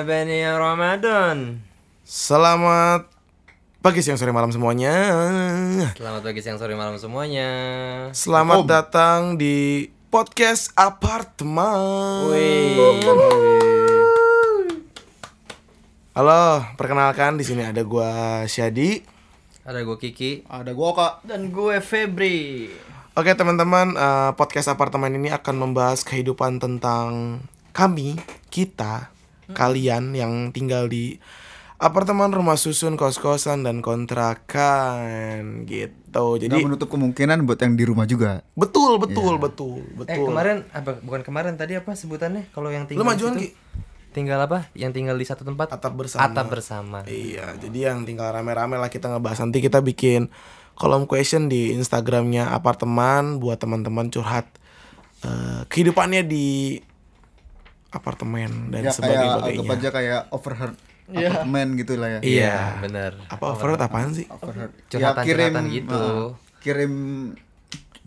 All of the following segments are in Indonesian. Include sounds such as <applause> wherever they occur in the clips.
Bani ya Ramadan Selamat pagi, siang, sore, malam semuanya. Selamat pagi, siang, sore, malam semuanya Selamat datang di podcast apartemen. Halo, perkenalkan di sini ada gua Syadi. Ada gue Kiki Eh, Ada gua kak Dan gue Febri Oke teman-teman, eh, podcast apartemen ini akan membahas kehidupan tentang kami, kita, kalian yang tinggal di apartemen rumah susun kos-kosan dan kontrakan gitu. Gak Jadi menutup kemungkinan buat yang di rumah juga betul Iya. betul betul Eh betul. kemarin, apa, bukan kemarin tadi apa sebutannya Kalau yang gitu tinggal Lu majuan di Ki. situ? Tinggal apa? Yang tinggal di satu tempat Atap bersama. Atap bersama Iya, jadi yang tinggal rame-rame lah kita ngebahas nanti kita bikin kolom question di Instagramnya apartemen buat teman-teman curhat eh, kehidupannya di apartemen dan Ya kayak anggap sebagainya. aja kayak overheard apartemen gitu lah ya Iya. bener Apa overload apaan sih? Overheard Ya, Curhatan-curhatan gitu. eh, Kirim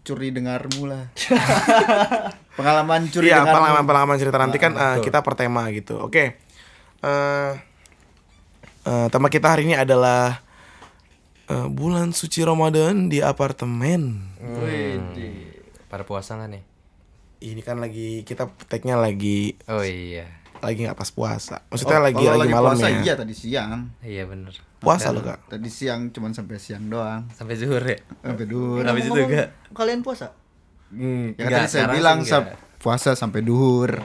curi dengarmu lah Pengalaman curi Nah, Iya, dengarmu pengalaman-pengalaman cerita nanti kan eh, kita per tema gitu. Oke. Eh, eh, tema kita hari ini adalah eh, bulan suci Ramadan di apartemen. Iya. Pada puasa gak nih? Ini kan lagi kita tag-nya lagi Oh iya lagi nggak pas puasa. Maksudnya Oh, lagi Kalau lagi, malam puasa, ya. Iya tadi siang Iya bener Puasa lo kak. Tadi siang cuman sampai siang doang Sampai zuhur ya? Sampai duhur Habis itu gak? Kalian puasa? Hmm, Ya kan tadi saya bilang sab- puasa sampai duhur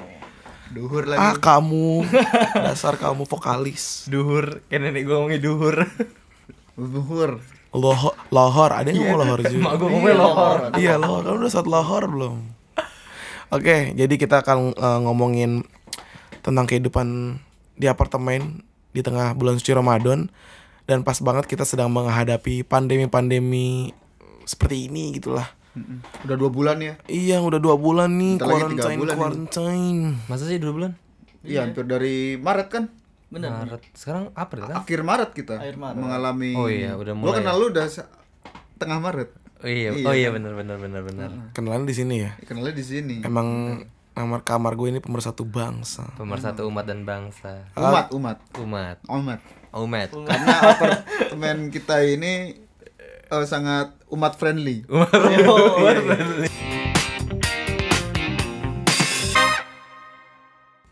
Duhur Ah lagi kamu dasar kamu vokalis. Duhur, kayak nenek gue ngomongnya duhur Duhur Lohor, lohor ada yang ngomong lohor juga. Mak gue ngomongnya lohor Iya lohor, kamu udah saat lohor belum? Oke, jadi kita akan eh, ngomongin tentang kehidupan di apartemen di tengah bulan suci Ramadan dan pas banget kita sedang menghadapi pandemi-pandemi seperti ini gitulah. Mm-mm. Udah dua bulan ya Iya, udah dua bulan nih Bentar lagi tiga quarantine, bulan nih. quarantine. Masa sih dua bulan? Iya hampir dari Maret kan Maret. Sekarang April kan? akhir Maret kita Akhir Maret. mengalami Oh iya, udah Gua mulai kenal lu udah se- tengah Maret Oh iya, oh iya benar benar benar benar. Kenalan di sini ya. kenalnya di sini Emang kamar kamar gue ini pemersatu bangsa. Pemersatu umat dan bangsa. umat umat Umat. <laughs> umat Umat. karena apartemen kita ini eh, sangat umat friendly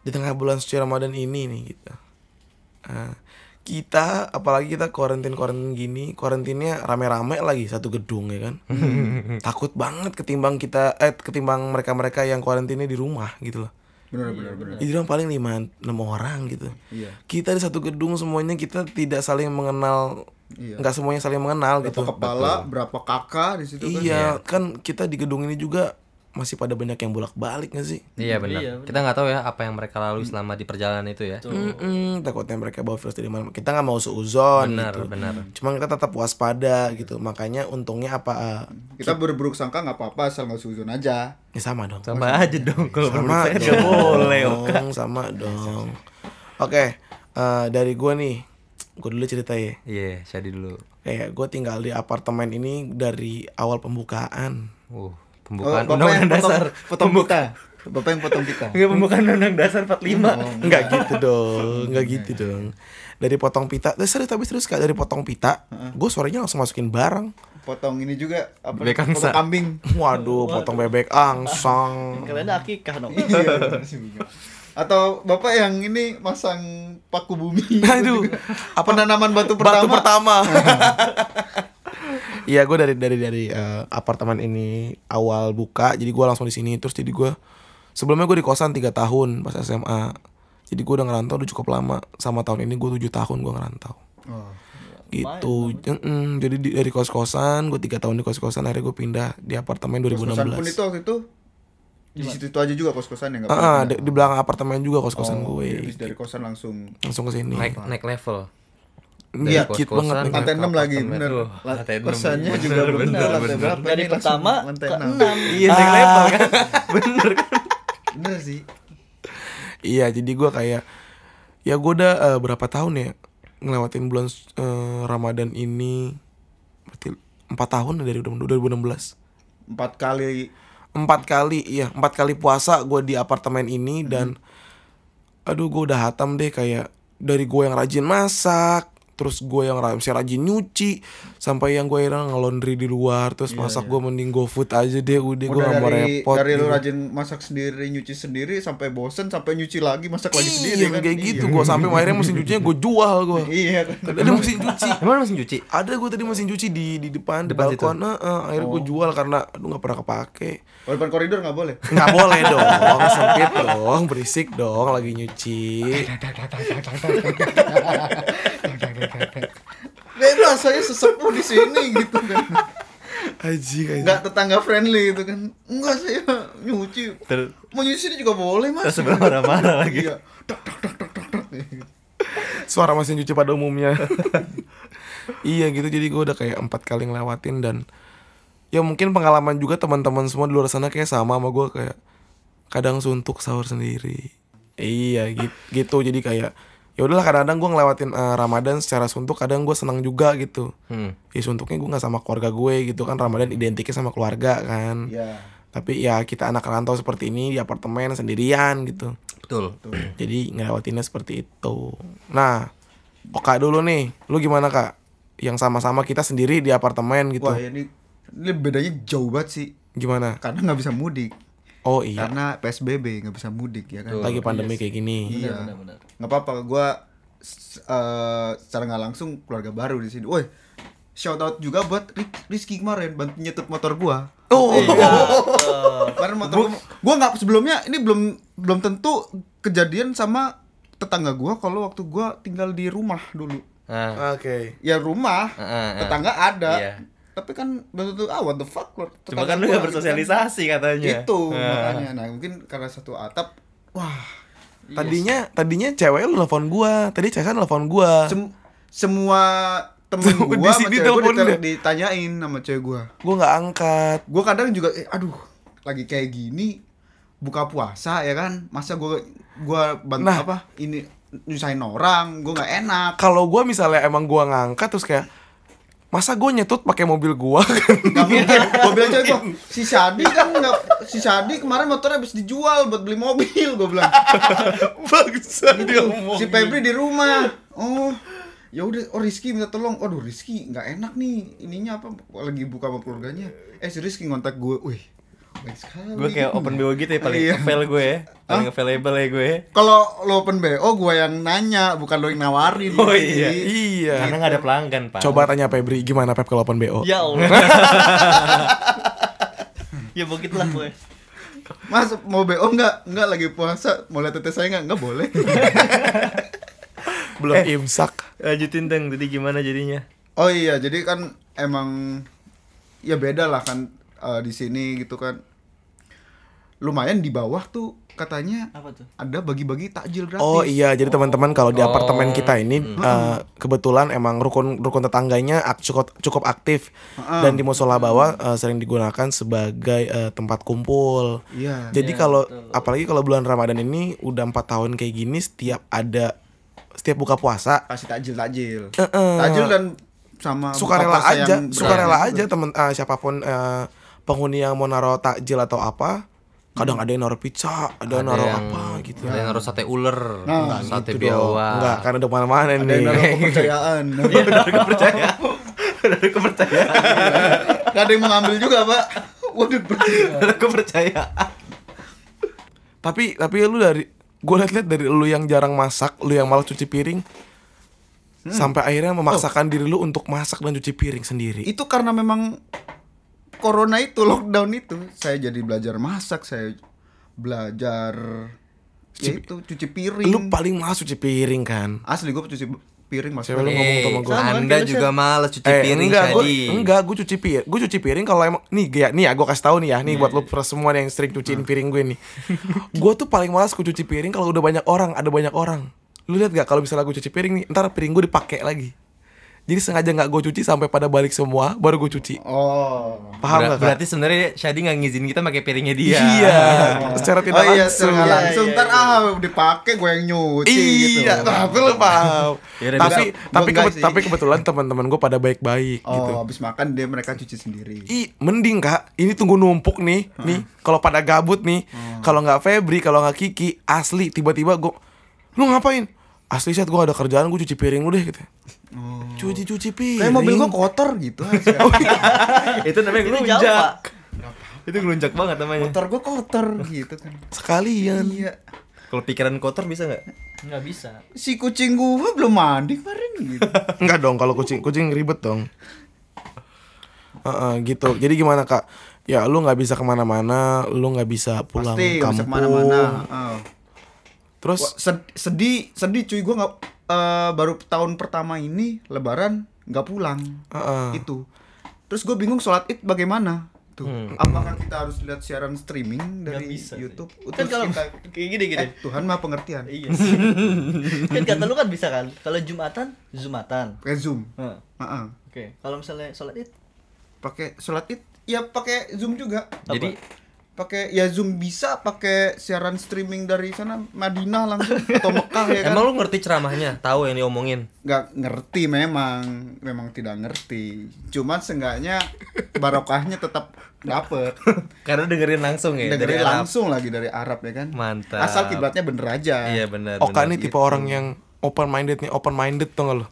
Di tengah bulan suci Ramadan ini nih kita. Ah, kita apalagi kita karantin karantin gini, karantinnya rame-rame lagi satu gedung ya kan. Takut banget ketimbang kita eh ketimbang mereka-mereka yang karantinnya di rumah gitu loh. benar benar benar Di rumah paling 5 6 orang gitu. iya Kita di satu gedung semuanya kita tidak saling mengenal Iya. nggak semuanya saling mengenal Iya, berapa gitu. kepala berapa kakak di situ ya. kan Iya, kan kita di gedung ini juga masih pada banyak yang bolak-balik gak sih? Iya benar. Kita nggak tahu ya apa yang mereka lalui selama di perjalanan itu ya. Mm-mm, takutnya mereka bawa virus dari mana. Kita nggak mau seuzon Benar, gitu. benar. Cuman kita tetap waspada gitu. Makanya untungnya apa? eh, kita berburuk sangka nggak apa-apa asal nggak suzon aja ya sama dong. Sama aja dong kalau Sama menurut saya dong. nggak boleh. <laughs> Sama dong. Oke, eh, dari gue nih, gue dulu cerita ya. Iya, Shadi dulu. Kayak gue tinggal di apartemen ini dari awal pembukaan. Uh, pembukaan Oh, undang-undang potong- dasar. potong kita bapak yang potong <laughs> kita Enggak pembukaan undang-undang dasar 45. Enggak gitu dong, <laughs> enggak gitu dong. Dari potong pita, eh, serius tapi serius kak dari potong pita, gue sorenya langsung masukin barang. potong ini juga apa Bebek angsa. potong kambing Waduh, potong bebek angsang. <laughs> Kalian akikah dong. Iya, bener sih, Bunga. Atau bapak yang ini masang paku <laughs> bumi. gitu. Aduh, apa penanaman batu pertama? Batu pertama. <laughs> Iya, gue dari dari dari eh, apartemen ini awal buka, jadi gue langsung di sini. Terus jadi gue sebelumnya gue di kosan 3 tahun pas SMA. Jadi gue udah ngerantau udah cukup lama. Sama tahun ini gue 7 tahun gue ngerantau. Oh, Gitu. Mm-mm, jadi di- dari kos-kosan, gue 3 tahun di kos-kosan, akhirnya gue pindah di apartemen kos-kosan pun itu 2016. waktu itu di situ itu aja juga kos-kosan ya nggak Ah, pernah ah, di, di belakang apartemen juga kos-kosan pindah. gue. Habis dari kosan langsung Langsung ke sini. Naik naik level. dari Iya, dikit kos-kosan. banget. lantai ke ya. 6 lagi apartemen. bener. Wah, La- lantai enam. Kosannya Bener, juga bener, belum tahu lantai bener. berapa Dari ini langsung pertama lantai ke enam. enam. Iya, naik level kan. Bener kan? Bener sih. Iya, jadi gua kayak ya gua udah eh, berapa tahun ya ngelewatin bulan eh, Ramadan ini berarti empat tahun dari 2016. Empat kali Empat kali, iya Hmm. empat kali puasa gua di apartemen ini dan aduh gua udah hatam deh kayak dari gue yang rajin masak terus gue yang ra- masih rajin nyuci sampai yang gue akhirnya ngelondri di luar terus masak gue mending go food aja deh udah gue Iya, Udah gak mau dari repot dari lu gitu. rajin masak sendiri, nyuci sendiri sampai bosen, sampai nyuci lagi, masak lagi sendiri iya kan. kayak Iya. gitu gue sampai akhirnya mesin cucinya gue jual gue Iya kan. ada mesin cuci Emang mesin cuci? ada gue tadi mesin cuci di di depan, Depan di situ? balkon Heeh, akhirnya gue jual karena aduh nggak pernah kepake Oh, depan koridor nggak boleh. nggak boleh dong sempit dong berisik dong lagi nyuci Bebas saya sesepuh di sini gitu kan. aji aji Nggak tetangga friendly gitu kan. Enggak saya nyuci. Ter- Mau nyuci sini juga boleh, Mas. Terus sebelah marah-marah lagi. Iya. Dak, dak, dak, dak, dak, dak. suara mesin cuci pada umumnya <laughs> iya gitu jadi gue udah kayak empat kali ngelewatin dan ya mungkin pengalaman juga teman-teman semua di luar sana kayak sama sama gue kayak kadang suntuk sahur sendiri iya gitu, gitu jadi kayak ya udahlah kadang-kadang gue ngelewatin eh, Ramadan secara suntuk kadang gue senang juga gitu Hmm. ya suntuknya gue nggak sama keluarga gue gitu kan Ramadan identiknya sama keluarga kan Iya. tapi ya kita anak rantau seperti ini di apartemen sendirian gitu <clears throat> Betul. jadi ngelewatinnya seperti itu nah Oka dulu nih lu gimana kak yang sama-sama kita sendiri di apartemen gitu Wah, iya. ini ini bedanya jauh banget sih. gimana Karena nggak bisa mudik. oh iya Karena PSBB nggak bisa mudik ya kan. lagi pandemi kayak gini Iya. Nggak apa-apa, gue secara nggak langsung keluarga baru di sini. Woi, shout out juga buat Ri- Rizky kemarin bantu nyetir motor gua. Iya. oh Iya. Kemarin motor gua, gua nggak sebelumnya ini belum belum tentu kejadian sama tetangga gua kalau waktu gua tinggal di rumah dulu. Ah, oke Ya rumah, ah, ah, ah. tetangga ada. Iya. Tapi kan belum tentu ah what the fuck keluar Cuma tetangga kan lu gak gua gitu kan. bersosialisasi katanya. <laughs> Itu Ah. makanya. Nah, mungkin karena satu atap, wah Iya tadinya tadinya cewek lu telepon gua tadi cewek telepon gua Sem- semua temen Tuh, gua di sama sini cewek gua teleponnya. ditel- ditanyain sama cewek gua gua nggak angkat gua kadang juga eh, aduh lagi kayak gini buka puasa ya kan masa gua gua bantu Nah. apa ini nyusahin orang gua nggak enak <laughs> kalau gua misalnya emang gua ngangkat terus kayak masa gua nyetut pakai mobil gua <laughs> Kan? nggak mungkin gua bilang cewek gua si Sadi kan nggak si Sadi kemarin motornya habis dijual buat beli mobil gua bilang bangsa dia si Febri di rumah oh ya udah oh Rizky minta tolong aduh Rizky nggak enak nih ininya apa lagi buka sama keluarganya eh si Rizky ngontak gue wih baik sekali Gue kayak open BO gitu ya paling Iya. fail gue ya. Paling available ya gue. kalau lo open bo gue yang nanya bukan lo yang nawarin Oh, iya. Jadi, iya Karena gak ada pelanggan, Pak. Coba tanya Febri gimana Pep kalau open Iya, BO. Ya <laughs> Allah. ya begitulah gue. mas mau bo nggak nggak lagi puasa mau lihat tetes saya nggak nggak <laughs> boleh Belum Eh, imsak. Lanjutin Teng, jadi gimana jadinya? oh iya jadi kan emang ya beda lah kan eh, di sini gitu kan lumayan di bawah tuh katanya Apa tuh? ada bagi-bagi takjil gratis Oh. Oh iya, jadi teman-teman kalau di apartemen kita ini eh, kebetulan emang rukun rukun tetangganya ak- cukup cukup aktif dan di musola bawah eh, sering digunakan sebagai eh, tempat kumpul. Iya. Jadi kalau apalagi kalau bulan Ramadan ini udah empat tahun kayak gini setiap ada setiap buka puasa kasih takjil takjil Heeh. takjil dan sama sukarela buka Ah, puasa aja, yang sukarela berat. aja temen eh, siapapun eh, penghuni yang mau naro takjil atau apa. Hmm. Kadang ada yang naruh pizza, ada, yang naruh apa gitu. Ada yang harus sate uler, Nah, sate Itu dong. Enggak, biawak. karena udah mana-mana ada yang naruh nih. kepercayaan <laughs> Iya, Dari <laughs> kepercayaan. Dari kepercayaan. Gak Iya. ada yang mau ngambil juga pak waduh berarti- Dari kepercayaan. tapi tapi lu dari gue liat-liat dari lu yang jarang masak, lu yang malah cuci piring, Hmm. sampai akhirnya Oh. memaksakan diri lu untuk masak dan cuci piring sendiri. itu karena memang corona itu lockdown itu saya jadi belajar masak saya belajar ya itu cuci piring Lu paling malas cuci piring kan? asli gue cuci piring mas Cewek lu ngomong sama gue. Anda juga males cuci Eh, piring enggak, gua, jadi. enggak, gue cuci piring. Gue cuci piring kalau emang nih ya, nih ya gue kasih tahu nih ya, nih buat Hmm. lu pers- semua yang sering cuciin piring gue <laughs> nih. gue tuh paling malas gue cuci piring kalau udah banyak orang, ada banyak orang. Lu lihat gak kalau misalnya gue cuci piring nih, ntar piring gue dipakai lagi. Jadi sengaja nggak gue cuci sampai pada balik semua, baru gue cuci. oh Paham Ber- gak kak? berarti sebenarnya Shadi nggak ngizin kita pakai piringnya dia. Iya, <laughs> secara tidak oh iya langsung. secara langsung Iya, ntar ah dipakai gue yang nyuci gitu Iya, tapi lu paham. Yaudah, tapi bisa. Gua tapi enggak kebet- sih. tapi kebetulan teman-teman gue pada baik-baik oh gitu. habis makan dia mereka cuci sendiri Ih, mending kak, ini tunggu numpuk nih, nih. Kalau pada Hmm. gabut nih, kalau nggak Febri, kalau nggak Kiki, asli tiba-tiba gue, lu ngapain? asli set gue ada kerjaan gue cuci piring lu deh gitu Oh. cuci cuci piring Kayak mobil gua kotor <laughs> gitu. Oh, iya. <laughs> aja. itu namanya Itu gelunjak. Jawa, Pak. Itu gelunjak banget namanya. motor gua kotor gitu kan. sekalian <laughs> Iya. Kalau pikiran kotor bisa nggak? Nggak bisa. Si kucing gua belum mandi kemarin gitu. enggak dong kalau kucing kucing ribet dong Heeh, gitu jadi gimana kak ya lu nggak bisa kemana-mana lu nggak bisa pulang Pasti nggak kampung bisa kemana-mana. Oh. Heeh. terus Wah, sed- sedih sedih cuy gua nggak eh, baru tahun pertama ini Lebaran nggak pulang Heeh. itu. Terus gue bingung sholat id bagaimana tuh. Apakah kita harus lihat siaran streaming dari Hmm. Nggak bisa sih. YouTube? Kan Terus kalau kita, <laughs> kayak gini gini. eh, Tuhan mah pengertian. Iya sih. kan kata lu kan bisa kan? Kalau Jumatan, Zumatan. Pakai zoom. Heeh. Heeh. Oke. Kalau misalnya sholat id, Pakai sholat id ya pakai zoom juga. Jadi Pakai ya zoom bisa pakai siaran streaming dari sana Madinah langsung atau Mekah ya kan? emang lu ngerti ceramahnya, tahu yang diomongin. nggak ngerti memang memang tidak ngerti cuman seenggaknya barokahnya tetap dapet Karena dengerin langsung ya dengerin Arab. langsung lagi dari Arab ya kan Mantap. asal kiblatnya bener aja Iya benar. benar. Oka nih tipe orang yang open minded nih open minded tuh <laughs> nggak lo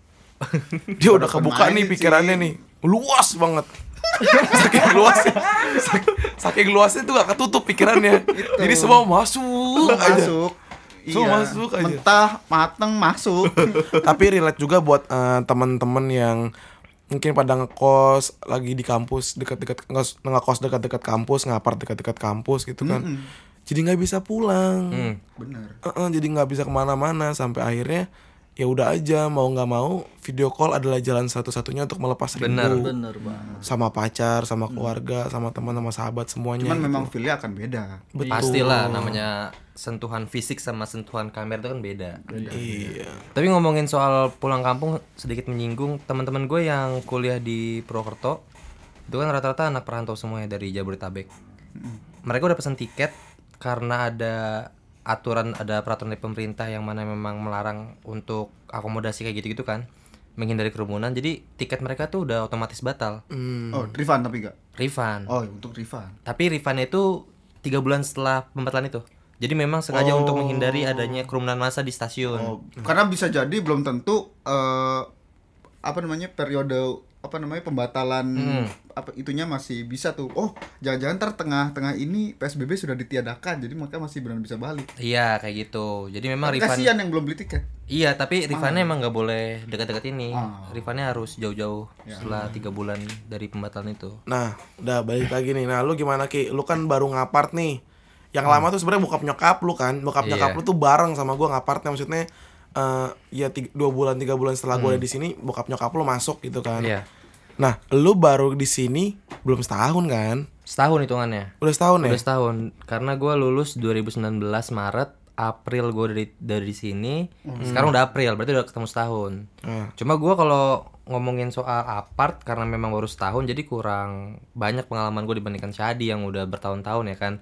dia udah kebuka nih Open-minded pikirannya sih. nih luas banget <laughs> saking luasnya <laughs> saking, saking luasnya tuh gak ketutup pikirannya jadi semua masuk aja Semua Gitu. masuk Semua masuk aja. mentah mateng masuk tapi relate juga buat eh, teman-teman yang mungkin pada ngekos lagi di kampus dekat-dekat ngekos ngekos dekat-dekat kampus ngapar dekat-dekat kampus gitu kan jadi nggak bisa pulang Hmm. bener Heeh, jadi nggak bisa kemana-mana sampai akhirnya ya udah aja mau nggak mau video call adalah jalan satu-satunya untuk melepas Benar. rindu bener banget. sama pacar sama keluarga sama teman sama sahabat semuanya cuman memang feelnya akan beda Betul. Pastilah Iya. namanya sentuhan fisik sama sentuhan kamera itu kan beda. iya Tapi ngomongin soal pulang kampung sedikit menyinggung teman-teman gue yang kuliah di Purwokerto itu kan rata-rata anak perantau semuanya dari Jabodetabek. Mereka udah pesan tiket karena ada aturan ada peraturan dari pemerintah yang mana memang melarang untuk akomodasi kayak gitu-gitu kan menghindari kerumunan. Jadi tiket mereka tuh udah otomatis batal. Hmm. oh Rifan tapi enggak Refund. oh untuk Rifan Tapi refundnya itu tiga bulan setelah pembatalan itu. Jadi memang sengaja untuk menghindari adanya kerumunan massa di stasiun. oh, karena bisa jadi belum tentu eh, apa namanya periode apa namanya pembatalan Hmm. apa itunya masih bisa tuh oh jangan-jangan ntar tengah-tengah ini PSBB sudah ditiadakan jadi mereka masih benar bisa balik Iya kayak gitu. Jadi memang refund. kasihan yang belum beli tiket Iya tapi refundnya emang nggak boleh dekat-dekat ini. Ah. Refundnya harus jauh-jauh setelah tiga bulan dari pembatalan itu. nah udah balik lagi nih nah lu gimana ki lu kan baru ngapart nih yang lama tuh sebenarnya bokap nyokap lu kan bokap Iya. nyokap lu tuh bareng sama gua ngapartnya maksudnya eh ya tiga, dua bulan tiga bulan setelah gua ada di sini bokap nyokap lu masuk gitu kan Hmm. Iya. nah lu baru di sini belum setahun kan Setahun hitungannya. udah setahun ya Udah setahun. Karena gue lulus 2019 Maret, April gue dari dari sini. Sekarang udah April, berarti udah ketemu setahun. Hmm. Cuma gue kalau ngomongin soal apart karena memang baru setahun jadi kurang banyak pengalaman gue dibandingkan Syadi yang udah bertahun-tahun ya kan.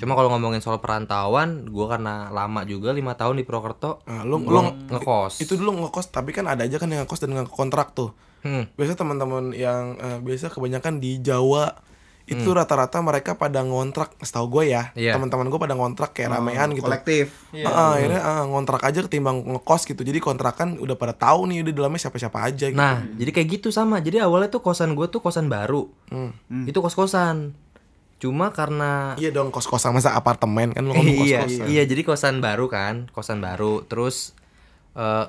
Cuma kalau ngomongin soal perantauan, gue karena lama juga lima tahun di Purwokerto. Nah, lu- gua lu- ngekos. itu dulu ngekos tapi kan ada aja kan yang ngekos dan kontrak tuh Hmm. biasa teman-teman yang eh, biasa kebanyakan di Jawa itu rata-rata mereka pada ngontrak setahu gue ya Iya. teman-teman gue pada ngontrak Oh, kayak ramean gitu kolektif Heeh, akhirnya ah, ngontrak aja ketimbang ngekos gitu jadi kontrakan udah pada tahu nih udah di dalamnya siapa-siapa aja gitu. Nah, jadi kayak gitu sama. Jadi awalnya tuh kosan gue tuh kosan baru. Itu kos-kosan. Cuma karena Hmm. iya dong kos-kosan masa apartemen kan lu ngomong iya, kos-kosan iya, jadi kosan baru kan, kosan baru. Terus eh,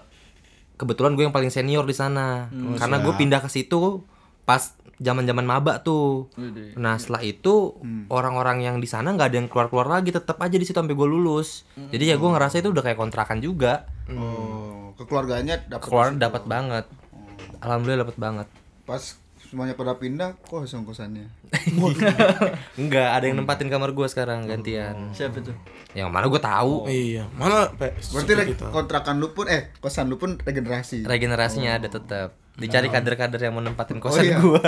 kebetulan gue yang paling senior di sana, Hmm, karena gue pindah ke situ pas zaman-zaman maba tuh. Nah setelah itu Hmm. orang-orang yang di sana nggak ada yang keluar-keluar lagi, tetap aja di situ sampai gue lulus. Jadi ya gue ngerasa itu udah kayak kontrakan juga, oh kekeluargaannya dapat Hmm. keluar Gitu. dapat banget. Oh. Alhamdulillah dapat banget. pas semuanya pada pindah kok kosong <laughs> kosannya Enggak, ada yang nempatin kamar gue sekarang gantian. Siapa tuh? Yang mana gue tahu. iya mana pe, berarti re- Gitu. kontrakan lu pun eh kosan lu pun regenerasi Regenerasinya ada tetap. Dicari kader-kader yang mau nempatin Oh, kosan iya. gue.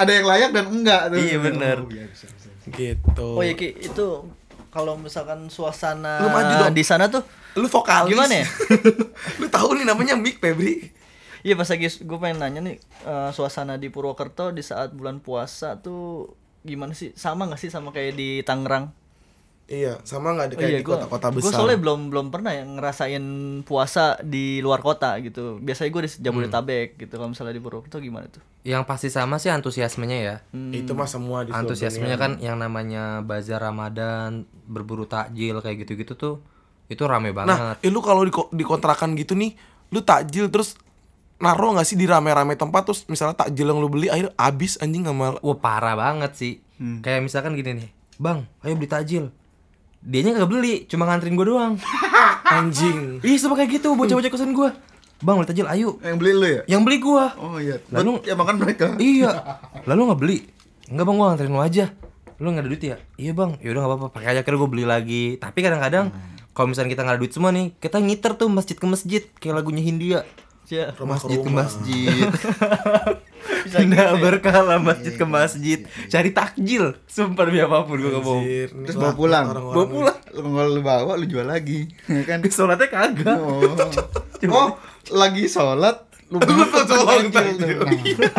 ada yang layak dan enggak tuh Iya, bener. Oh, iya, bisa, bisa. gitu Oh ya Ki, itu kalau misalkan suasana Lu maju dong. di sana tuh lu vokalis Gimana ya? <laughs> lu tahu nih namanya Mik Febri Iya pas lagi gue pengen nanya nih eh, suasana di Purwokerto di saat bulan puasa tuh gimana sih sama nggak sih sama kayak di Tangerang? Iya, sama nggak di Oh, kayak di kota-kota Gue besar. soalnya belum belum pernah ya ngerasain puasa di luar kota gitu. Biasanya gue di Jabodetabek Hmm. gitu. Kalau misalnya di Purwokerto gimana tuh? Yang pasti sama sih antusiasmenya ya. Itu mah semua di seluruh Antusiasmenya kan yang namanya bazar Ramadan, berburu takjil kayak gitu-gitu tuh itu rame Nah, banget. eh, lu kalau di, ko- di kontrakan gitu nih, lu takjil terus naruh nggak sih di rame-rame tempat terus misalnya takjil yang lu beli akhirnya habis anjing sama Wah, parah banget sih. Kayak misalkan gini nih, "Bang, ayo beli takjil." Dianya kagak beli, cuma nganterin gue doang. anjing. Ih, sama kayak gitu bocah-bocah kosan gue. "Bang, beli takjil, ayo." Yang beli lu ya? Yang beli gua. Oh iya. Lalu- Lalu ya makan mereka. iya lalu nggak beli nggak bang gua nganterin lu aja lu nggak ada duit ya iya bang yaudah nggak apa-apa pakai aja akhirnya gue beli lagi tapi kadang-kadang kalau misalnya kita nggak ada duit semua nih kita ngiter tuh masjid ke masjid kayak lagunya Hindia Iya. Ya, masjid ke <laughs> masjid bisa gitu tidak ya. berkala masjid ke masjid cari takjil sumpah demi apapun gue nggak mau Anjir, nih Terus lah, bawa pulang. orang-orang bawa pulang Lu kalau lu bawa lu jual lagi. Ya kan? ke sholatnya kagak Oh. oh, lagi sholat lu beli tolong takjil tuh. takjil. Nah.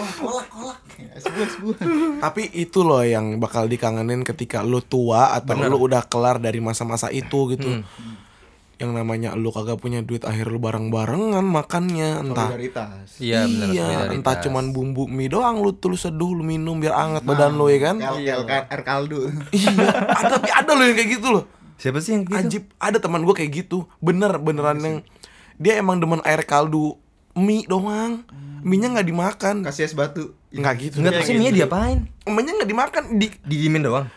Oh, kolak kolak. Ya, sebuah sebuah. Tapi itu loh yang bakal dikangenin ketika lu tua atau lu udah kelar dari masa-masa itu gitu. Yang namanya lu kagak punya duit akhir lu bareng-barengan makannya entah. Solidaritas. iya benar iya, entah cuman bumbu mie doang lu tulis seduh lu minum biar anget badan lu ya kan. LKL air kaldu. iya, ada tapi ada loh yang kayak gitu loh. siapa sih yang gitu Iya Ajib, ada teman gue kayak gitu. Bener beneran yang dia emang demen air kaldu mie doang. Mie-nya nggak dimakan. Kasih es batu. Nggak gitu. nggak tahu Hmm. sih Iya, minyak diapain Mie-nya nggak dimakan. Di, didiemin doang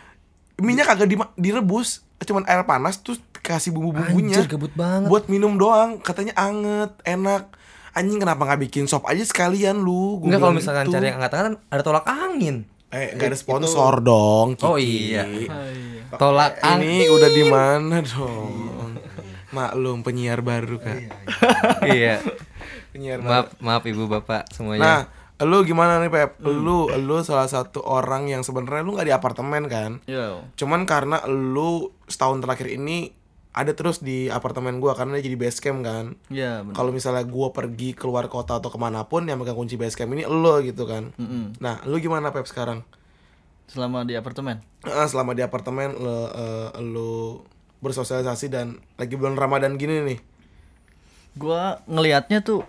mie-nya kagak dima- direbus, cuman air panas terus kasih bumbu-bumbunya. Anjir, gabut banget. Buat minum doang, katanya anget, enak. Anjing kenapa nggak bikin sop aja sekalian lu? Gua nggak kalau bilang misalkan gitu. cari yang angkat-angkat ada tolak angin eh nggak ada sponsor dong. Oh Kiki. iya. tolak angin Ini udah di mana dong? Maklum penyiar baru kak. iya Penyiar baru. maaf maaf ibu bapak Iya. semuanya Nah, lu gimana nih Pep? Hmm. Lu lu salah satu orang yang sebenarnya lu nggak di apartemen kan? Yo. Cuman karena lu setahun terakhir ini ada terus di apartemen gua karena dia jadi base camp kan. Ya, benar. Kalau misalnya gua pergi keluar kota atau kemanapun yang megang kunci base camp ini lo gitu kan. Mm-mm. Nah, lu gimana Pep sekarang? Selama di apartemen. Eh, selama di apartemen lu, eh, lu bersosialisasi dan lagi bulan Ramadan gini nih. gua ngelihatnya tuh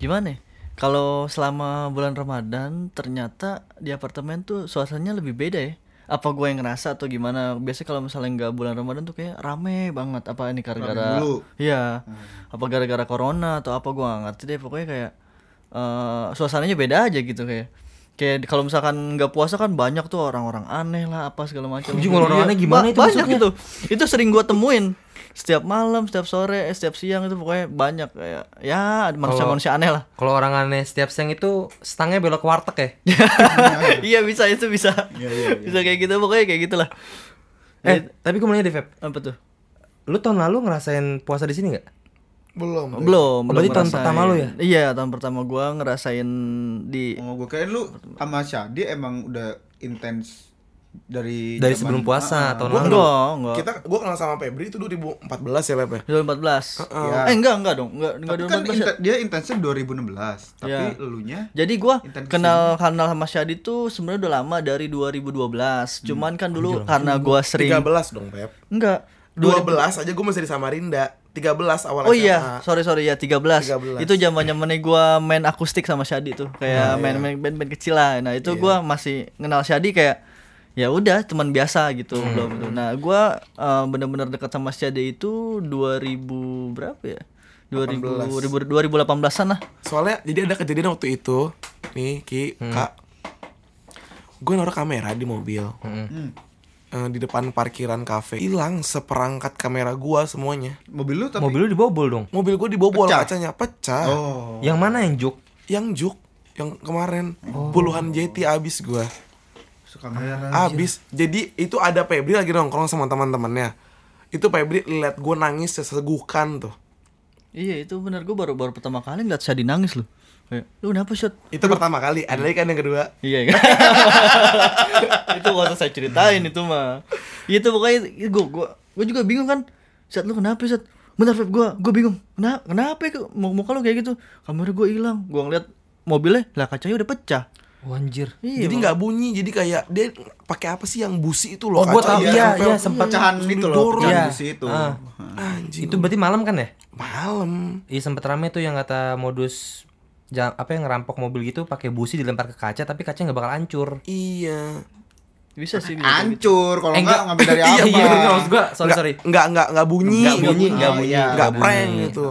gimana ya? Kalau selama bulan Ramadan ternyata di apartemen tuh suasananya lebih beda ya. Apa gue yang ngerasa atau gimana? Biasanya kalau misalnya nggak bulan Ramadan tuh kayak rame banget. Apa ini gara-gara dulu. Iya. Apa gara-gara corona atau apa gua nggak ngerti deh. Pokoknya kayak eh suasananya beda aja gitu kayak. Kayak di- kalau misalkan nggak puasa kan banyak tuh orang-orang aneh lah apa segala macam. Anjing, orang-orang Iya, aneh gimana ba- itu Banyak maksudnya? itu itu itu sering gua temuin setiap malam setiap sore eh, setiap siang itu pokoknya banyak kayak ya manusia manusia aneh <laughs> lah kalau orang aneh setiap siang itu stangnya belok ke warteg ya iya bisa itu bisa iya, bisa kayak gitu pokoknya kayak gitulah eh tapi gue mau nanya deh Feb apa tuh lu tahun lalu ngerasain puasa di sini nggak Belum. Oh, belum berarti belum tahun ngerasain. pertama lu ya? iya tahun pertama gua ngerasain di Oh, gue kirain lu sama Syadi emang udah intens dari dari sebelum zaman- puasa tahun enggak lalu enggak Kita gua kenal sama Febri itu 2014 ya Pep. ya? 2014 Iya. eh enggak enggak dong enggak enggak Tapi kan 2014 ya. inten- dia intensnya 2016, tapi Ya. elunya Jadi gua Intens kenal kenal sama Syadi tuh sebenarnya udah lama dari Hmm. 2012. Cuman kan dulu karena gua sering 13 dong Pep. enggak 12 aja gue masih di Samarinda 13 awal Oh SMA. iya, sorry sorry ya 13. 13. Itu zaman zamannya gua main akustik sama Syadi tuh, kayak main main band-band kecil lah. Nah, itu gua masih kenal Syadi kayak ya udah teman biasa gitu belum gitu. Nah, gua eh, bener-bener dekat sama Syadi itu 2000 berapa ya? 2000 2018-an lah. Soalnya jadi ada kejadian waktu itu Nih Ki, Kak Gue naruh kamera di mobil Eh, Di depan parkiran kafe Hilang seperangkat kamera gua semuanya mobil lu tapi mobil lu dibobol dong Mobil gue dibobol Pecah. kacanya Pecah Oh. yang mana yang juk Yang juk Yang kemarin Puluhan JT abis gua suka merah. Abis Jadi itu ada Febri lagi nongkrong sama teman-temannya Itu Febri liat gue nangis sesegukan tuh Iya, itu bener gua baru baru pertama kali ngeliat Syadi nangis loh. Kayak, lu kenapa, Syad? Itu pertama kali Ada lagi kan yang kedua Iya kan? <laughs> itu gak usah saya ceritain itu mah. Iya, Itu pokoknya gue gua gua juga bingung kan. Set lu kenapa set? Bentar Feb gua gua bingung. Kenapa kenapa ya, kok muka lu kayak gitu? Kamera gua hilang. Gua ngeliat mobilnya lah kacanya udah pecah. Oh, anjir. jadi nggak bunyi, jadi kayak dia pakai apa sih yang busi itu loh? ya, Oh, gua kaca tahu. yang Iya, nempel. iya, sempat. pecahan itu gitu loh didorong. pecahan Iya. besi itu Ah. Anjing. Itu berarti malam kan ya? malam. Iya sempet rame tuh yang kata modus ja- apa yang ngerampok mobil gitu pakai busi dilempar ke kaca tapi kacanya nggak bakal hancur. Iya. Bisa sih bisa kayak gitu. hancur kalau Eh, enggak enggak. ngambil dari <laughs> Iya, apa iya, bener, maksud gua, sorry, sorry. Nggak nggak nggak bunyi. Nggak bunyi, nggak Oh, bunyi. iya. Nggak bunyi. prank gitu.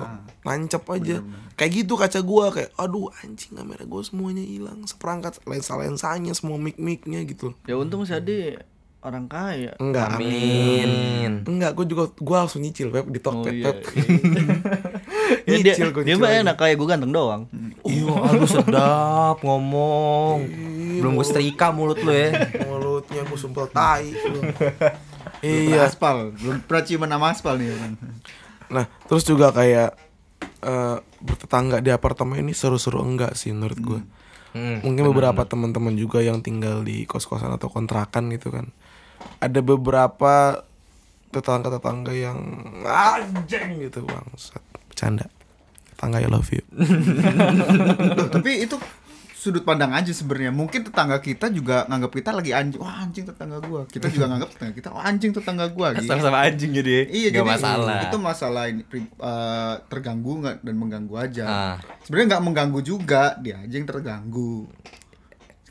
Nancep aja. Kayak gitu kaca gua kayak aduh anjing kamera gua semuanya hilang seperangkat lensa-lensanya semua mic-micnya gitu. Ya untung Syadi orang kaya. <laughs> Enggak, amin. Amin. Oh, Enggak, gue juga gue langsung nyicil web di Tokped. iya, Web. Ya, dia nyicil gue dia nyicil. mah aja. enak kayak gue ganteng doang. Iya, aduh sedap ngomong. Iya, Belum gue setrika mulut lu ya. <laughs> Mulutnya gue sumpel tai. <laughs> lu. iya. iya. aspal belum pernah ciuman sama aspal nih kan Nah, terus juga kayak eh bertetangga di apartemen ini seru-seru enggak sih menurut gue. Hmm. Mungkin beberapa teman-teman juga yang tinggal di kos-kosan atau kontrakan gitu kan. Ada beberapa tetangga-tetangga yang anjing gitu bangsat. Bercanda. Tetangga I love <laughs> you. Loh, <laughs> tapi itu sudut pandang aja sebenarnya mungkin tetangga kita juga nganggap kita lagi anjing wah anjing tetangga gua <laughs> kita juga nganggap tetangga kita wah anjing tetangga gua gitu Sama-sama anjing jadi. Nggak iya jadi masalah. Ah. itu masalah ini pri- eh, terganggu nggak dan mengganggu aja Ah. sebenarnya nggak mengganggu juga dia aja yang terganggu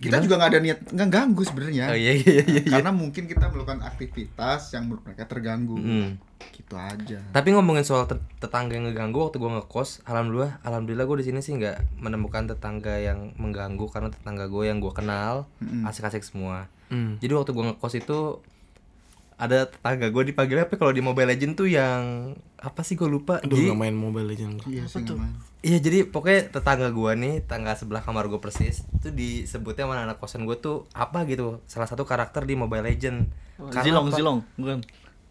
kita juga nggak ada niat nggak ganggu sebenarnya Oh iya iya iya. karena mungkin kita melakukan aktivitas yang menurut mereka terganggu Hmm. gitu aja Tapi ngomongin soal te- tetangga yang ngeganggu waktu gua ngekos, alhamdulillah, alhamdulillah gue di sini sih nggak menemukan tetangga yang mengganggu karena tetangga gue yang gua kenal asik-asik semua. Mm. Jadi waktu gua ngekos itu ada tetangga gue dipanggilnya apa kalau di Mobile Legend tuh yang apa sih gue lupa. Aduh, Jadi- nggak main Mobile Legends. gua. iya sih nggak main. Iya jadi pokoknya tetangga gua nih tetangga sebelah kamar gua persis itu disebutnya sama anak kosan gua tuh apa gitu salah satu karakter di Mobile Legend Karena Zilong apa- zilong bukan.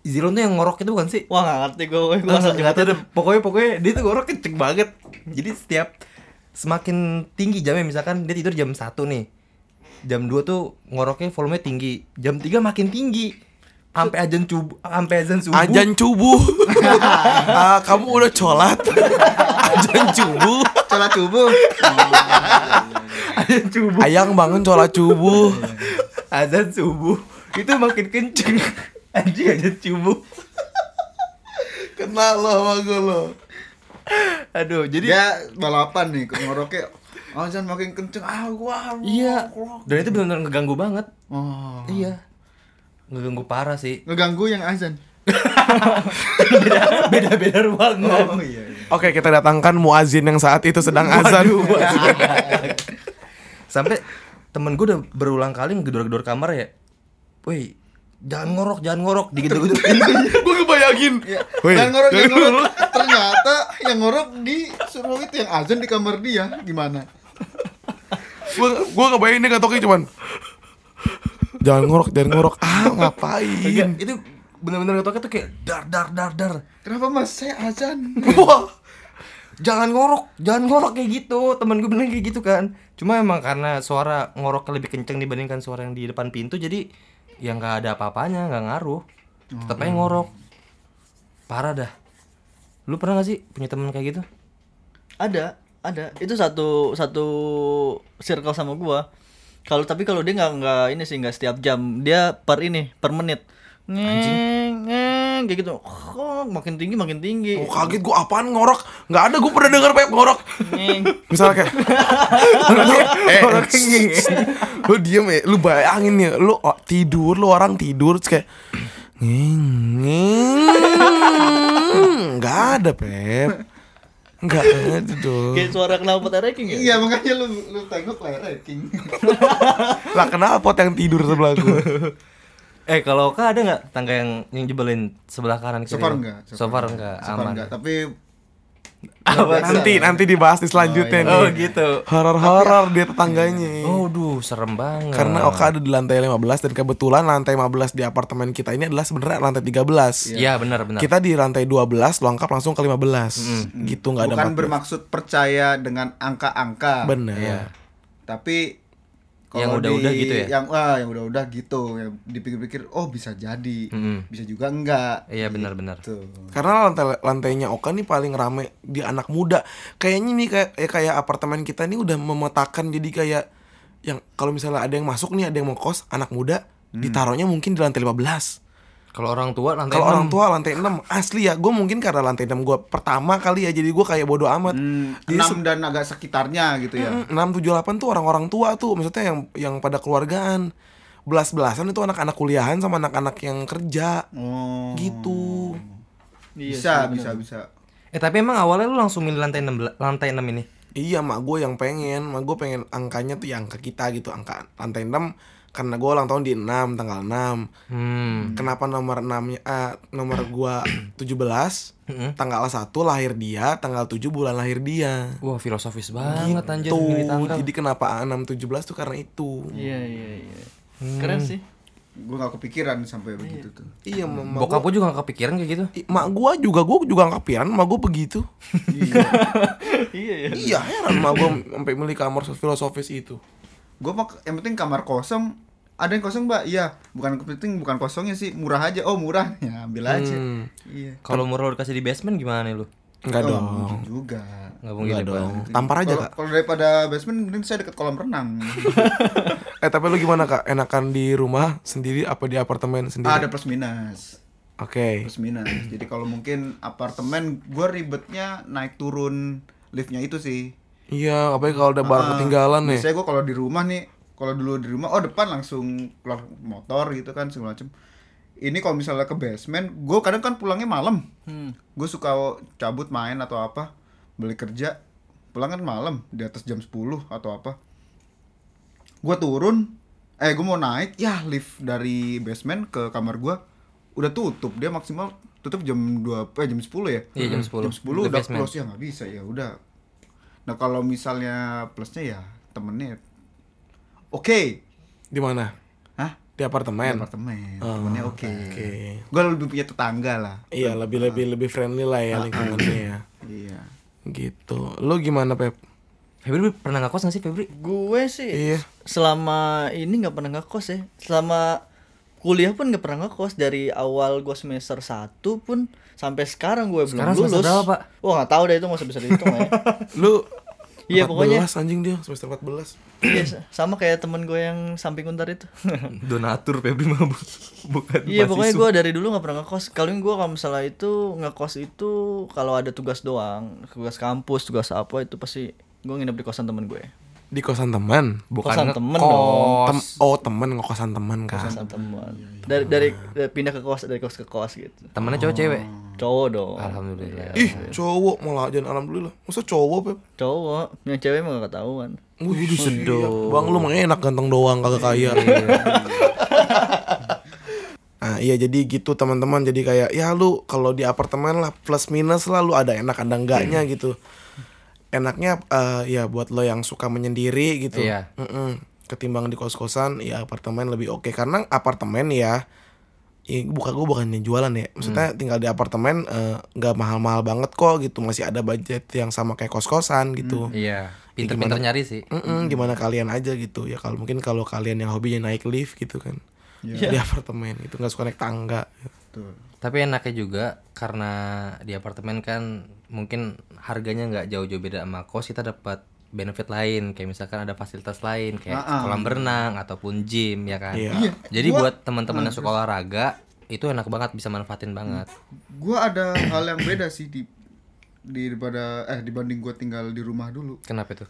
Zilong tuh yang ngorok itu bukan sih? Wah nggak ngerti gue. Gue Gua asal nggak jatuh tahu deh. Pokoknya pokoknya dia tuh ngorok kenceng banget. Jadi setiap semakin tinggi jamnya misalkan dia tidur jam 1 nih. Jam 2 tuh ngoroknya volumenya tinggi. Jam 3 makin tinggi. Sampai azan subuh, sampai azan subuh. Ajan cubu. Ah, kamu udah colat. <laughs> Ajan <laughs> cubu. Colat tubuh <laughs> <laughs> Azan subuh. Ayang bangun colat cubu. azan subuh itu makin kenceng <laughs> anjing azan subuh Kenal lo sama gue <laughs> lo. aduh jadi dia balapan nih ngoroknya oh jangan makin kenceng ah gua iya dan itu benar-benar ngeganggu banget oh. iya ngeganggu parah sih ngeganggu yang azan beda beda <laughs> beda ruangan oh iya, iya. Oke, kita datangkan muazin yang saat itu sedang azan. Waduh, waduh. sampai temen gue udah berulang kali ngedor-gedor kamar ya woi jangan ngorok jangan ngorok <laughs> digedor-gedor gue ngebayangin. Woi, <laughs> Yang ngorok, yang ngorok. Ternyata yang ngorok di suruh itu yang azan di kamar dia gimana? gue gue ngebayangin dia ngatoknya cuman jangan ngorok, jangan ngorok. Ah, ngapain? itu benar-benar ngetoknya tuh kayak dar dar dar dar Kenapa mas saya azan? <laughs> <laughs> Wah, jangan ngorok, jangan ngorok kayak gitu. Temen gue bilang kayak gitu kan. Cuma emang karena suara ngoroknya lebih kenceng dibandingkan suara yang di depan pintu, jadi yang nggak ada apa-apanya, nggak ngaruh. Tetap aja ngorok. Parah dah. Lu pernah gak sih punya temen kayak gitu? Ada, ada. Itu satu satu circle sama gua. Kalau tapi kalau dia nggak nggak ini sih nggak setiap jam. Dia per ini per menit. Ngeng, ngeng, kayak gitu. Oh, makin tinggi makin tinggi. Oh. Gue kaget gue apaan ngorok? Nggak ada gue pernah dengar pep ngorok. Ngeng. Misalnya kayak <laughs> eh, Lu diem ya Lu bayangin ya Lu o- tidur Lu orang tidur Terus kayak Nging nging. Nggak ada Pep Nggak ada dong Kayak suara kenapa terreking ya? Iya makanya lu lu tengok lah <laughs> ranking. Lah kenapa yang tidur sebelah gue Eh kalau kak ada nggak tangga yang yang jebelin sebelah kanan kiri? So far enggak. So far enggak, So far aman. enggak, Tapi Nanti nanti dibahas di selanjutnya Oh nih gitu. Horor-horor dia tetangganya Oh duh, serem banget. Karena Oka ada di lantai 15 Dan kebetulan lantai 15 di apartemen kita ini adalah sebenarnya lantai 13 Iya benar-benar. Kita di lantai 12 lengkap langsung ke 15 Gitu nggak ada bukan 14. bermaksud percaya dengan angka-angka. Iya. Bener. Tapi Yang kalau udah-udah di- gitu ya? Yang ah, yang udah-udah gitu. Yang dipikir-pikir oh bisa jadi. Mm-mm. Bisa juga enggak. Gitu. Iya benar-benar. Tuh. Karena lantai lantainya Oka nih paling rame di anak muda. Kayaknya nih kayak eh, kayak apartemen kita nih udah memetakan jadi kayak yang kalau misalnya ada yang masuk nih ada yang mau kos anak muda Mm. ditaruhnya mungkin di lantai 15 Kalau orang tua lantai kalau enam. orang tua lantai 6 asli ya gue mungkin karena lantai 6 gue pertama kali ya jadi gue kayak bodoh amat Hmm. Jadi enam dan agak sekitarnya gitu ya enam tujuh delapan tuh orang-orang tua tuh maksudnya yang yang pada keluargaan belas belasan itu anak-anak kuliahan sama anak-anak yang kerja oh gitu Iya, bisa bisa bisa Eh tapi emang awalnya lu langsung milih lantai 6 lantai 6 ini. iya mak gue yang pengen mak gue pengen angkanya tuh yang angka kita gitu angka lantai 6 karena gue ulang tahun di 6 tanggal 6 Hmm. kenapa nomor 6 nomor gue 17 tanggal 1 lahir dia tanggal 7 bulan lahir dia Wah, filosofis banget anjir tuh milih tanggal. jadi kenapa 6 17 tuh karena itu Iya iya iya. Hmm. Keren sih. <laughs> gue gak kepikiran sampai begitu tuh iya mak mak Bokap gua juga gak kepikiran kayak gitu. I- mak gua juga gua juga ngapian mak gua begitu iya iya. iya heran mak gua sampai milih kamar filosofis itu gue mau yang penting kamar kosong ada yang kosong mbak iya bukan penting bukan kosongnya sih murah aja oh murah ya ambil aja Hmm. iya Kalau murah lu dikasih di basement gimana lu? enggak Oh, dong mungkin juga Gak mungkin enggak ya, dong tampar aja Kalau- kak kalau daripada basement mending saya deket kolam <laughs> renang eh tapi lu gimana kak enakan di rumah sendiri apa di apartemen sendiri ada plus minus oke plus minus jadi kalau mungkin apartemen gue ribetnya naik turun liftnya itu sih Eh, iya apalagi kalau udah barang ketinggalan nih Ah, Biasanya gue kalau di rumah nih, kalau dulu di rumah, oh depan langsung keluar motor gitu kan segala macem. Ini kalau misalnya ke basement, gue kadang kan pulangnya malam. Hmm. Gue suka cabut main atau apa, beli kerja, pulang kan malam di atas jam 10 atau apa. Gue turun, eh gue mau naik, ya lift dari basement ke kamar gue udah tutup dia maksimal tutup jam 2 eh jam 10 ya. Iya, jam 10. Jam 10 Di udah basement. close ya nggak bisa ya udah Nah kalau misalnya plusnya ya temennya oke, di mana hah? di apartemen Apartemen, Oh, temennya oke. oke. Gue lebih punya tetangga lah. iya lebih lebih lebih friendly lah ya lingkungannya ya Iya. gitu lu gimana pep Febri pernah gak kos gak sih Febri? Gue sih Iya. selama ini nggak pernah ngekos ya. Selama kuliah pun nggak pernah ngekos dari awal gue semester 1 pun sampai sekarang gue belum Sekarang semester lulus. berapa, Pak? Wah nggak tahu deh itu nggak usah bisa dihitung lah ya. <laughs> lu Iya, pokoknya. 14 anjing dia semester 14 Iya, sa- sama kayak temen gue yang samping untar <laughs> itu. <laughs> Donatur Febri mabuk. Bukan Iya pokoknya mahasiswa. gue dari dulu nggak pernah ngekos. Kalian gue kalau misalnya itu ngekos itu kalau ada tugas doang, tugas kampus, tugas apa itu pasti gue nginep di kosan temen gue. di kosan teman bukan kosan temen ngekos. dong. Tem- oh temen ngekosan temen kan Kosan temen. Dari, dari dari pindah ke kos dari kos ke kos gitu. Temennya cowok cewek. Cowok dong. Alhamdulillah. ih cowok malah jangan alhamdulillah masa cowok pep Cowok, yang cewek mah gak <laughs> ketahuan. Wih, sedo. Bang lu mah enak ganteng doang kagak kaya. Iya. <laughs> Nah, iya jadi gitu teman-teman. Jadi kayak ya lu kalau di apartemen lah plus minus lah lu ada enak ada enggaknya Iya. gitu. Enaknya eh, ya buat lo yang suka menyendiri gitu. Iya. Mm-mm. Ketimbang di kos-kosan ya apartemen lebih oke karena apartemen ya Ya, buka gue bukannya jualan ya maksudnya Hmm. tinggal di apartemen eh, nggak mahal-mahal banget kok gitu masih ada budget yang sama kayak kos-kosan gitu Iya. Pinter-pinter nyari sih. Hmm. Mm-mm, gimana kalian aja gitu ya kalau mungkin kalau kalian yang hobinya naik lift gitu kan di Iya. Iya. apartemen itu nggak suka naik tangga Tuh. Tapi enaknya juga karena di apartemen kan mungkin harganya nggak jauh-jauh beda sama kos kita dapat benefit lain kayak misalkan ada fasilitas lain kayak kolam berenang ataupun gym ya kan. Ah, Iya. Jadi buat teman-teman yang suka olahraga itu enak banget bisa manfaatin banget. Hmm. Gue ada hal yang beda sih di di- daripada eh dibanding gue tinggal di rumah dulu. Kenapa itu?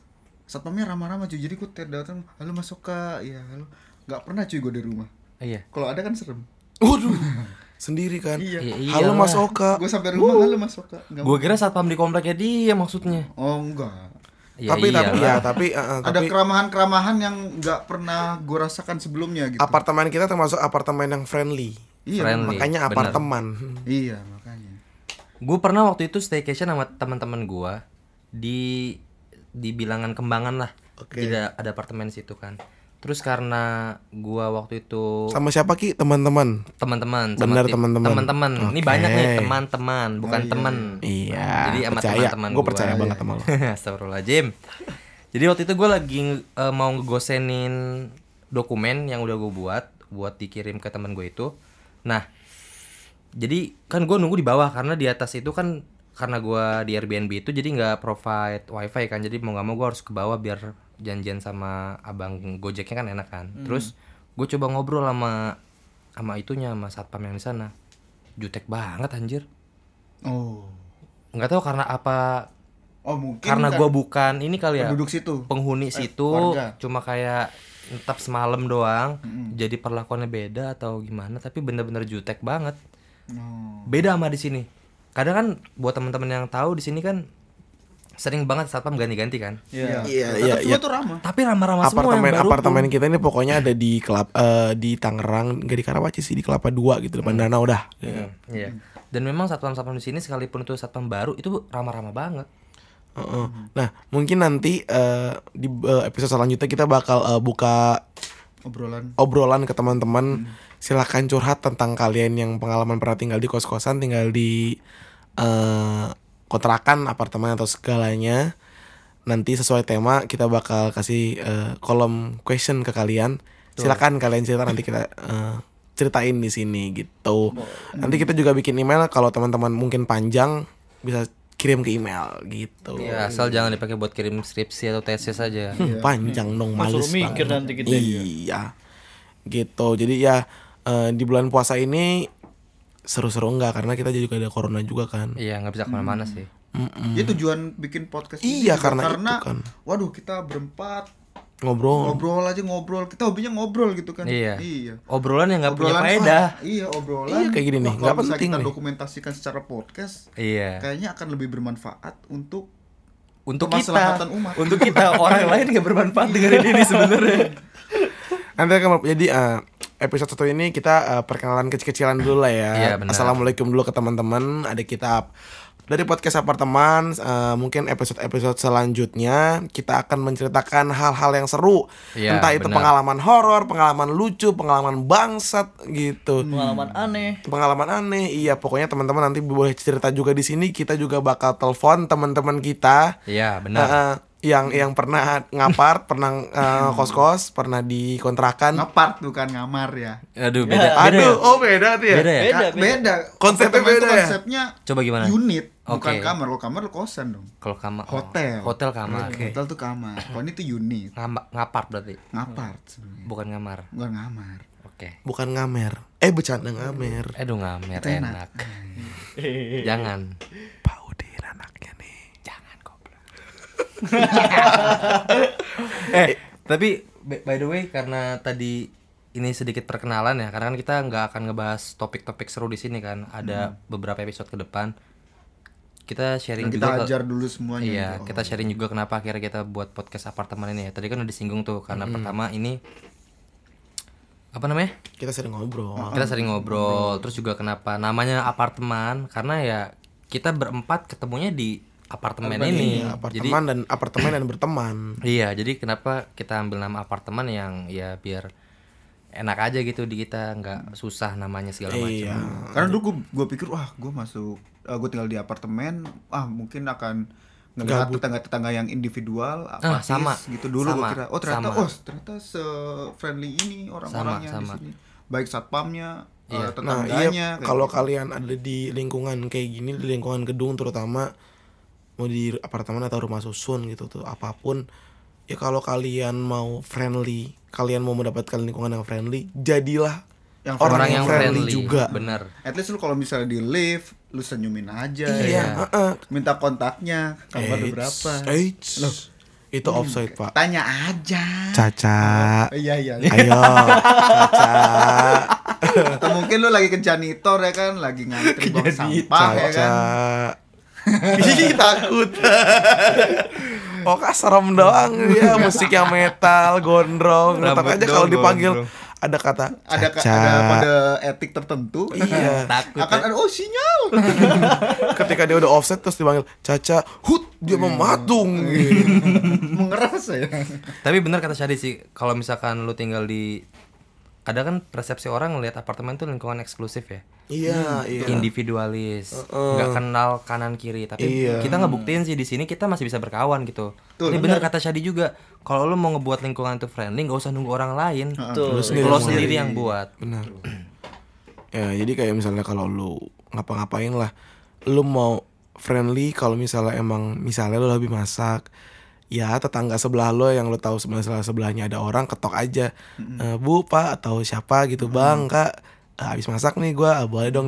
Satpamnya ramah-ramah cuy. Jadi gue tiap datang, halo masuk kak, ya halo. Gak pernah cuy gue di rumah. Iya. Kalau ada kan serem. waduh sendiri kan Iya. Iya, iyalah. halo mas Oka Gue sampai rumah, halo masuk kak. Nggak- Gua kira satpam di kompleknya dia maksudnya. Oh enggak. Ya, tapi tapi ya iyalah. tapi eh, eh, Iya, Ada tapi keramahan-keramahan yang nggak pernah gue rasakan sebelumnya gitu. apartemen kita termasuk apartemen yang friendly Iya, Friendly, bener. makanya apartemen Iya makanya. Gue pernah waktu itu staycation sama teman-teman gue di di bilangan kembangan lah. Jadi ada, ada apartemen situ kan. Terus karena gua waktu itu sama siapa ki teman-teman teman-teman Bener, ti- teman-teman. teman-teman ini Oke. Oh, banyak nih teman-teman bukan teman iya jadi sama percaya teman-teman iya. gue percaya banget sama lo <laughs> Astagfirullahaladzim jadi waktu itu gue lagi eh, mau ngegosenin dokumen yang udah gue buat buat dikirim ke teman gue itu nah jadi kan gue nunggu di bawah karena di atas itu kan karena gue di Airbnb itu jadi nggak provide wifi kan jadi mau nggak mau gue harus ke bawah biar janjian sama abang gojeknya kan enak kan terus gue coba ngobrol sama sama itunya sama satpam yang di sana jutek banget anjir Oh. nggak tahu karena apa Oh mungkin karena kan gue bukan ini kali ya penduduk situ. penghuni situ Eh, warga. cuma kayak tetap semalam doang jadi perlakuannya beda atau gimana tapi bener-bener jutek banget Oh. beda sama di sini kadang kan buat teman-teman yang tahu di sini kan sering banget satpam ganti-ganti kan Iya. Iya, Tetap iya, semua iya. tuh ramah. tapi ramah-ramah semua yang apartemen baru apartemen kita ini pokoknya ada di kelap eh, di Tangerang nggak di Karawaci sih di Kelapa Dua gitu depan danau dah tuh. Hmm, iya. dan memang satpam-satpam di sini sekalipun itu satpam baru itu ramah-ramah banget Heeh. nah mungkin nanti eh, di eh, episode selanjutnya kita bakal eh, buka Obrolan. obrolan ke teman-teman silahkan curhat tentang kalian yang pengalaman pernah tinggal di kos-kosan tinggal di eh, kontrakan apartemen atau segalanya nanti sesuai tema kita bakal kasih eh, kolom question ke kalian silahkan kalian cerita nanti kita eh, ceritain di sini gitu nanti kita juga bikin email kalau teman-teman mungkin panjang bisa kirim ke email Oh, gitu Iya, asal jangan dipakai buat kirim skripsi atau tesis aja <laughs> Hmm, panjang dong Mas, males suruh mikir banget. nanti ya. kita. iya gitu jadi ya eh, di bulan puasa ini seru-seru enggak karena kita juga ada corona juga kan iya nggak bisa kemana-mana sih Hmm. Mm-mm. Ya tujuan bikin podcast ini Iya, juga karena itu kan. Waduh kita berempat ngobrol ngobrol aja ngobrol. Kita hobinya ngobrol gitu kan. iya Iya. obrolan yang nggak punya Obrolan- faedah ah, Iya, obrolan. Iya, kayak gini nih, Wah, nggak kalau bisa penting kita nih. dokumentasikan secara podcast, iya kayaknya akan lebih bermanfaat untuk untuk kita Kemaslahatan umat. untuk <laughs> kita Nah, orang lain nggak bermanfaat dengerin ini sebenarnya nanti akan jadi eh, episode satu ini kita eh, perkenalan kecil-kecilan dulu lah ya Iya, benar. assalamualaikum dulu ke teman-teman ada kitab dari podcast apartemen eh, mungkin episode-episode selanjutnya kita akan menceritakan hal-hal yang seru Iya, entah itu benar. pengalaman horor pengalaman lucu pengalaman bangsat gitu Pengalaman aneh. pengalaman aneh iya pokoknya teman-teman nanti boleh cerita juga di sini kita juga bakal telepon teman-teman kita iya eh, benar eh, yang yang pernah ngapar pernah Hmm. eh, kos-kos pernah di kontrakan ngapart bukan ngamar ya. aduh beda beda aduh ya? oh beda tuh ya beda ya Beda, Ka- beda. Konsepnya Apartemen tuh beda ya? Konsepnya coba gimana unit, bukan Oke. kamar. Kalau kamar lu kosan dong. kalau kamar oh, Hotel. Iya. hotel kamar Hotel tuh kamar. Kalau ini tuh unit, Ngama, ngapar berarti ngapart sebenarnya. bukan ngamar Bukan ngamar. oke bukan ngamer eh bercanda ngamer aduh ngamer enak jangan Paudir anaknya nih jangan goblok eh tapi by by the way karena tadi ini sedikit perkenalan ya karena kan kita nggak akan ngebahas topik-topik seru di sini kan ada beberapa episode ke depan kita sharing Nah, kita juga ke- ajar dulu semuanya. Iya, gitu. kita sharing juga kenapa akhirnya kita buat podcast apartemen ini ya. Tadi kan udah disinggung tuh karena pertama ini apa namanya? kita sering ngobrol Kita sering ngobrol, terus juga kenapa namanya apartemen karena ya kita berempat ketemunya di apartemen ini. Iya, Jadi apartemen dan apartemen dan berteman iya, jadi kenapa kita ambil nama apartemen yang ya biar enak aja gitu di kita, nggak susah namanya segala macam. iya Karena dulu gue pikir wah gue masuk gue tinggal di apartemen ah mungkin akan ngelihat tetangga-tetangga yang individual Ah, apa sama. gitu dulu gue Sama. kira oh ternyata Sama. oh ternyata se friendly ini orang-orangnya Sama, sama. di sini baik satpamnya eh, Nah tetangganya iya kayak kalau gitu. kalian ada di lingkungan kayak gini di lingkungan gedung terutama mau di apartemen atau rumah susun gitu tuh apapun ya kalau kalian mau friendly kalian mau mendapatkan lingkungan yang friendly jadilah Yang orang, Orang yang friendly, juga bener. at least lu kalau misalnya di lift lu senyumin aja ya. iya heeh. minta kontaknya kabar Eits, berapa Hmm. eits. itu offside pak tanya aja <laughs> Caca iya iya ayo Caca atau mungkin lu lagi ke janitor ya kan lagi ngantri buang sampah ya Caca kan <laughs> Ih, takut Oh kak serem doang ya musik yang metal gondrong Rambut Tetap aja dong, kalau dipanggil gondrong. ada kata ada Caca ada kode etik tertentu Iya. <laughs> Takut akan ya. ada oh sinyal <laughs> Ketika dia udah offset terus dipanggil Caca Hut dia mematung Iya. gitu. mengeras ya Tapi benar kata Syadi sih, kalau misalkan lu tinggal di kadang kan persepsi orang ngelihat apartemen tuh lingkungan eksklusif ya. Iya iya Individualis, nggak kenal kanan kiri, tapi Iya. kita ngebuktiin sih di sini kita masih bisa berkawan gitu. Ini Iya. benar kata Syadi juga, kalau lu mau ngebuat lingkungan itu friendly, nggak usah nunggu orang lain. Lu Tuh. sendiri, Lu sendiri yang buat. Benar. Ya, jadi kayak misalnya kalau lu ngapa-ngapain lah, lu mau friendly kalau misalnya emang misalnya lu lebih masak, ya tetangga sebelah lo yang lo tahu sebelah sebelah sebelahnya ada orang ketok aja Eh, bu pak atau siapa gitu bang kak eh, habis masak nih gua eh, boleh dong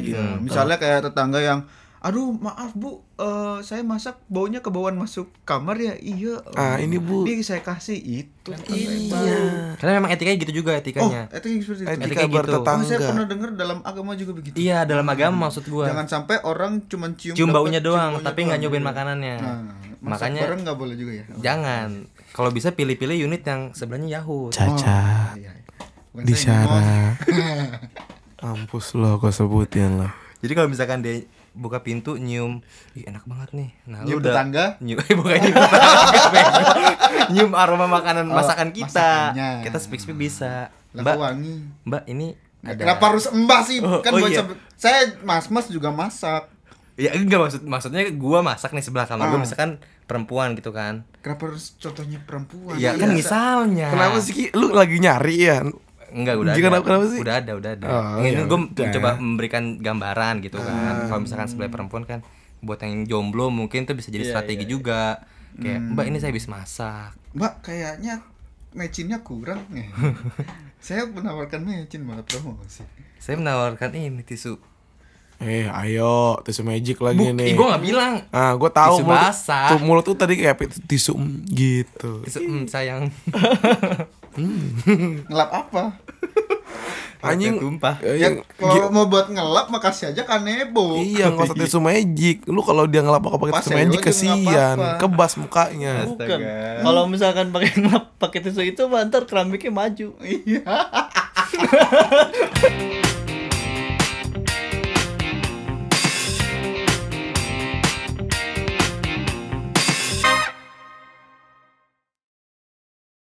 Iya. gitu Ya, misalnya kayak tetangga yang aduh maaf bu eh, saya masak baunya kebauan masuk kamar ya iya Ah, ini, Bu." ini saya kasih itu kan Iya. Karena memang etikanya gitu juga oh etikanya. etika seperti itu Etika gitu. etika Oh, saya bertetangga pernah dengar dalam agama juga begitu Iya, dalam agama maksud gua. jangan sampai orang cuma cium cium dapat, baunya cium doang, baunya tapi doang. nggak nyobain makanannya. nah, Makanya makanya bareng nggak boleh juga ya jangan. Kalau bisa pilih-pilih unit yang sebenarnya Yahoo. caca Oh, Iya, iya. Bukan di saya yang <laughs> ngomong. sana ampus lo gua sebutin lo Jadi kalau misalkan dia buka pintu nyium, Ih, enak banget nih. Nah, Nyium lu udah tetangga? nyium <laughs> eh, bukan nyium tetangga, bego. nyium aroma makanan masakan kita. Oh, masakannya. Kita speak speak bisa. Lah, Mbak, kok wangi Mbak ini ada. Kenapa harus embah sih? Oh, kan oh buat iya. sampe- saya mas-mas juga masak. Ya enggak maksud maksudnya gua masak nih sebelah kamar gua Ah. misalkan perempuan gitu kan. Kenapa harus contohnya perempuan? Iya kan misalnya. kenapa sih Ki? lu lagi nyari ya Enggak udah Jika ada. kenapa- kenapa sih? Udah ada, udah ada. Oh, Ah. ini ya gue udah. coba memberikan gambaran gitu kan. Kalau misalkan sebelah perempuan kan buat yang jomblo mungkin tuh bisa jadi strategi juga. Kayak, Hmm. "Mbak, ini saya habis masak." Mbak kayaknya mecinnya kurang <laughs> nih. saya menawarkan mecin malah promosi. Saya menawarkan ini tisu. eh ayo tisu magic lagi Buk, nih gue gak bilang. Ah, gue Tisu tahu mulut, basah. tuh, mulut tuh tadi kayak pi- tisu mm, gitu. Tisu, "Hmm, sayang. Ngelap apa? Anjing tumpah. eh, ya kalau gi- mau buat ngelap makasih aja kan nebo. Iya, nggak <laughs> usah tisu magic. Lu kalau dia ngelap pakai Pas tisu ya, magic lu juga nggak kesian, apa-apa. kebas mukanya. Bukan. Kalau misalkan pakai <laughs> ngelap pakai tisu itu mah, ntar keramiknya maju. Iya.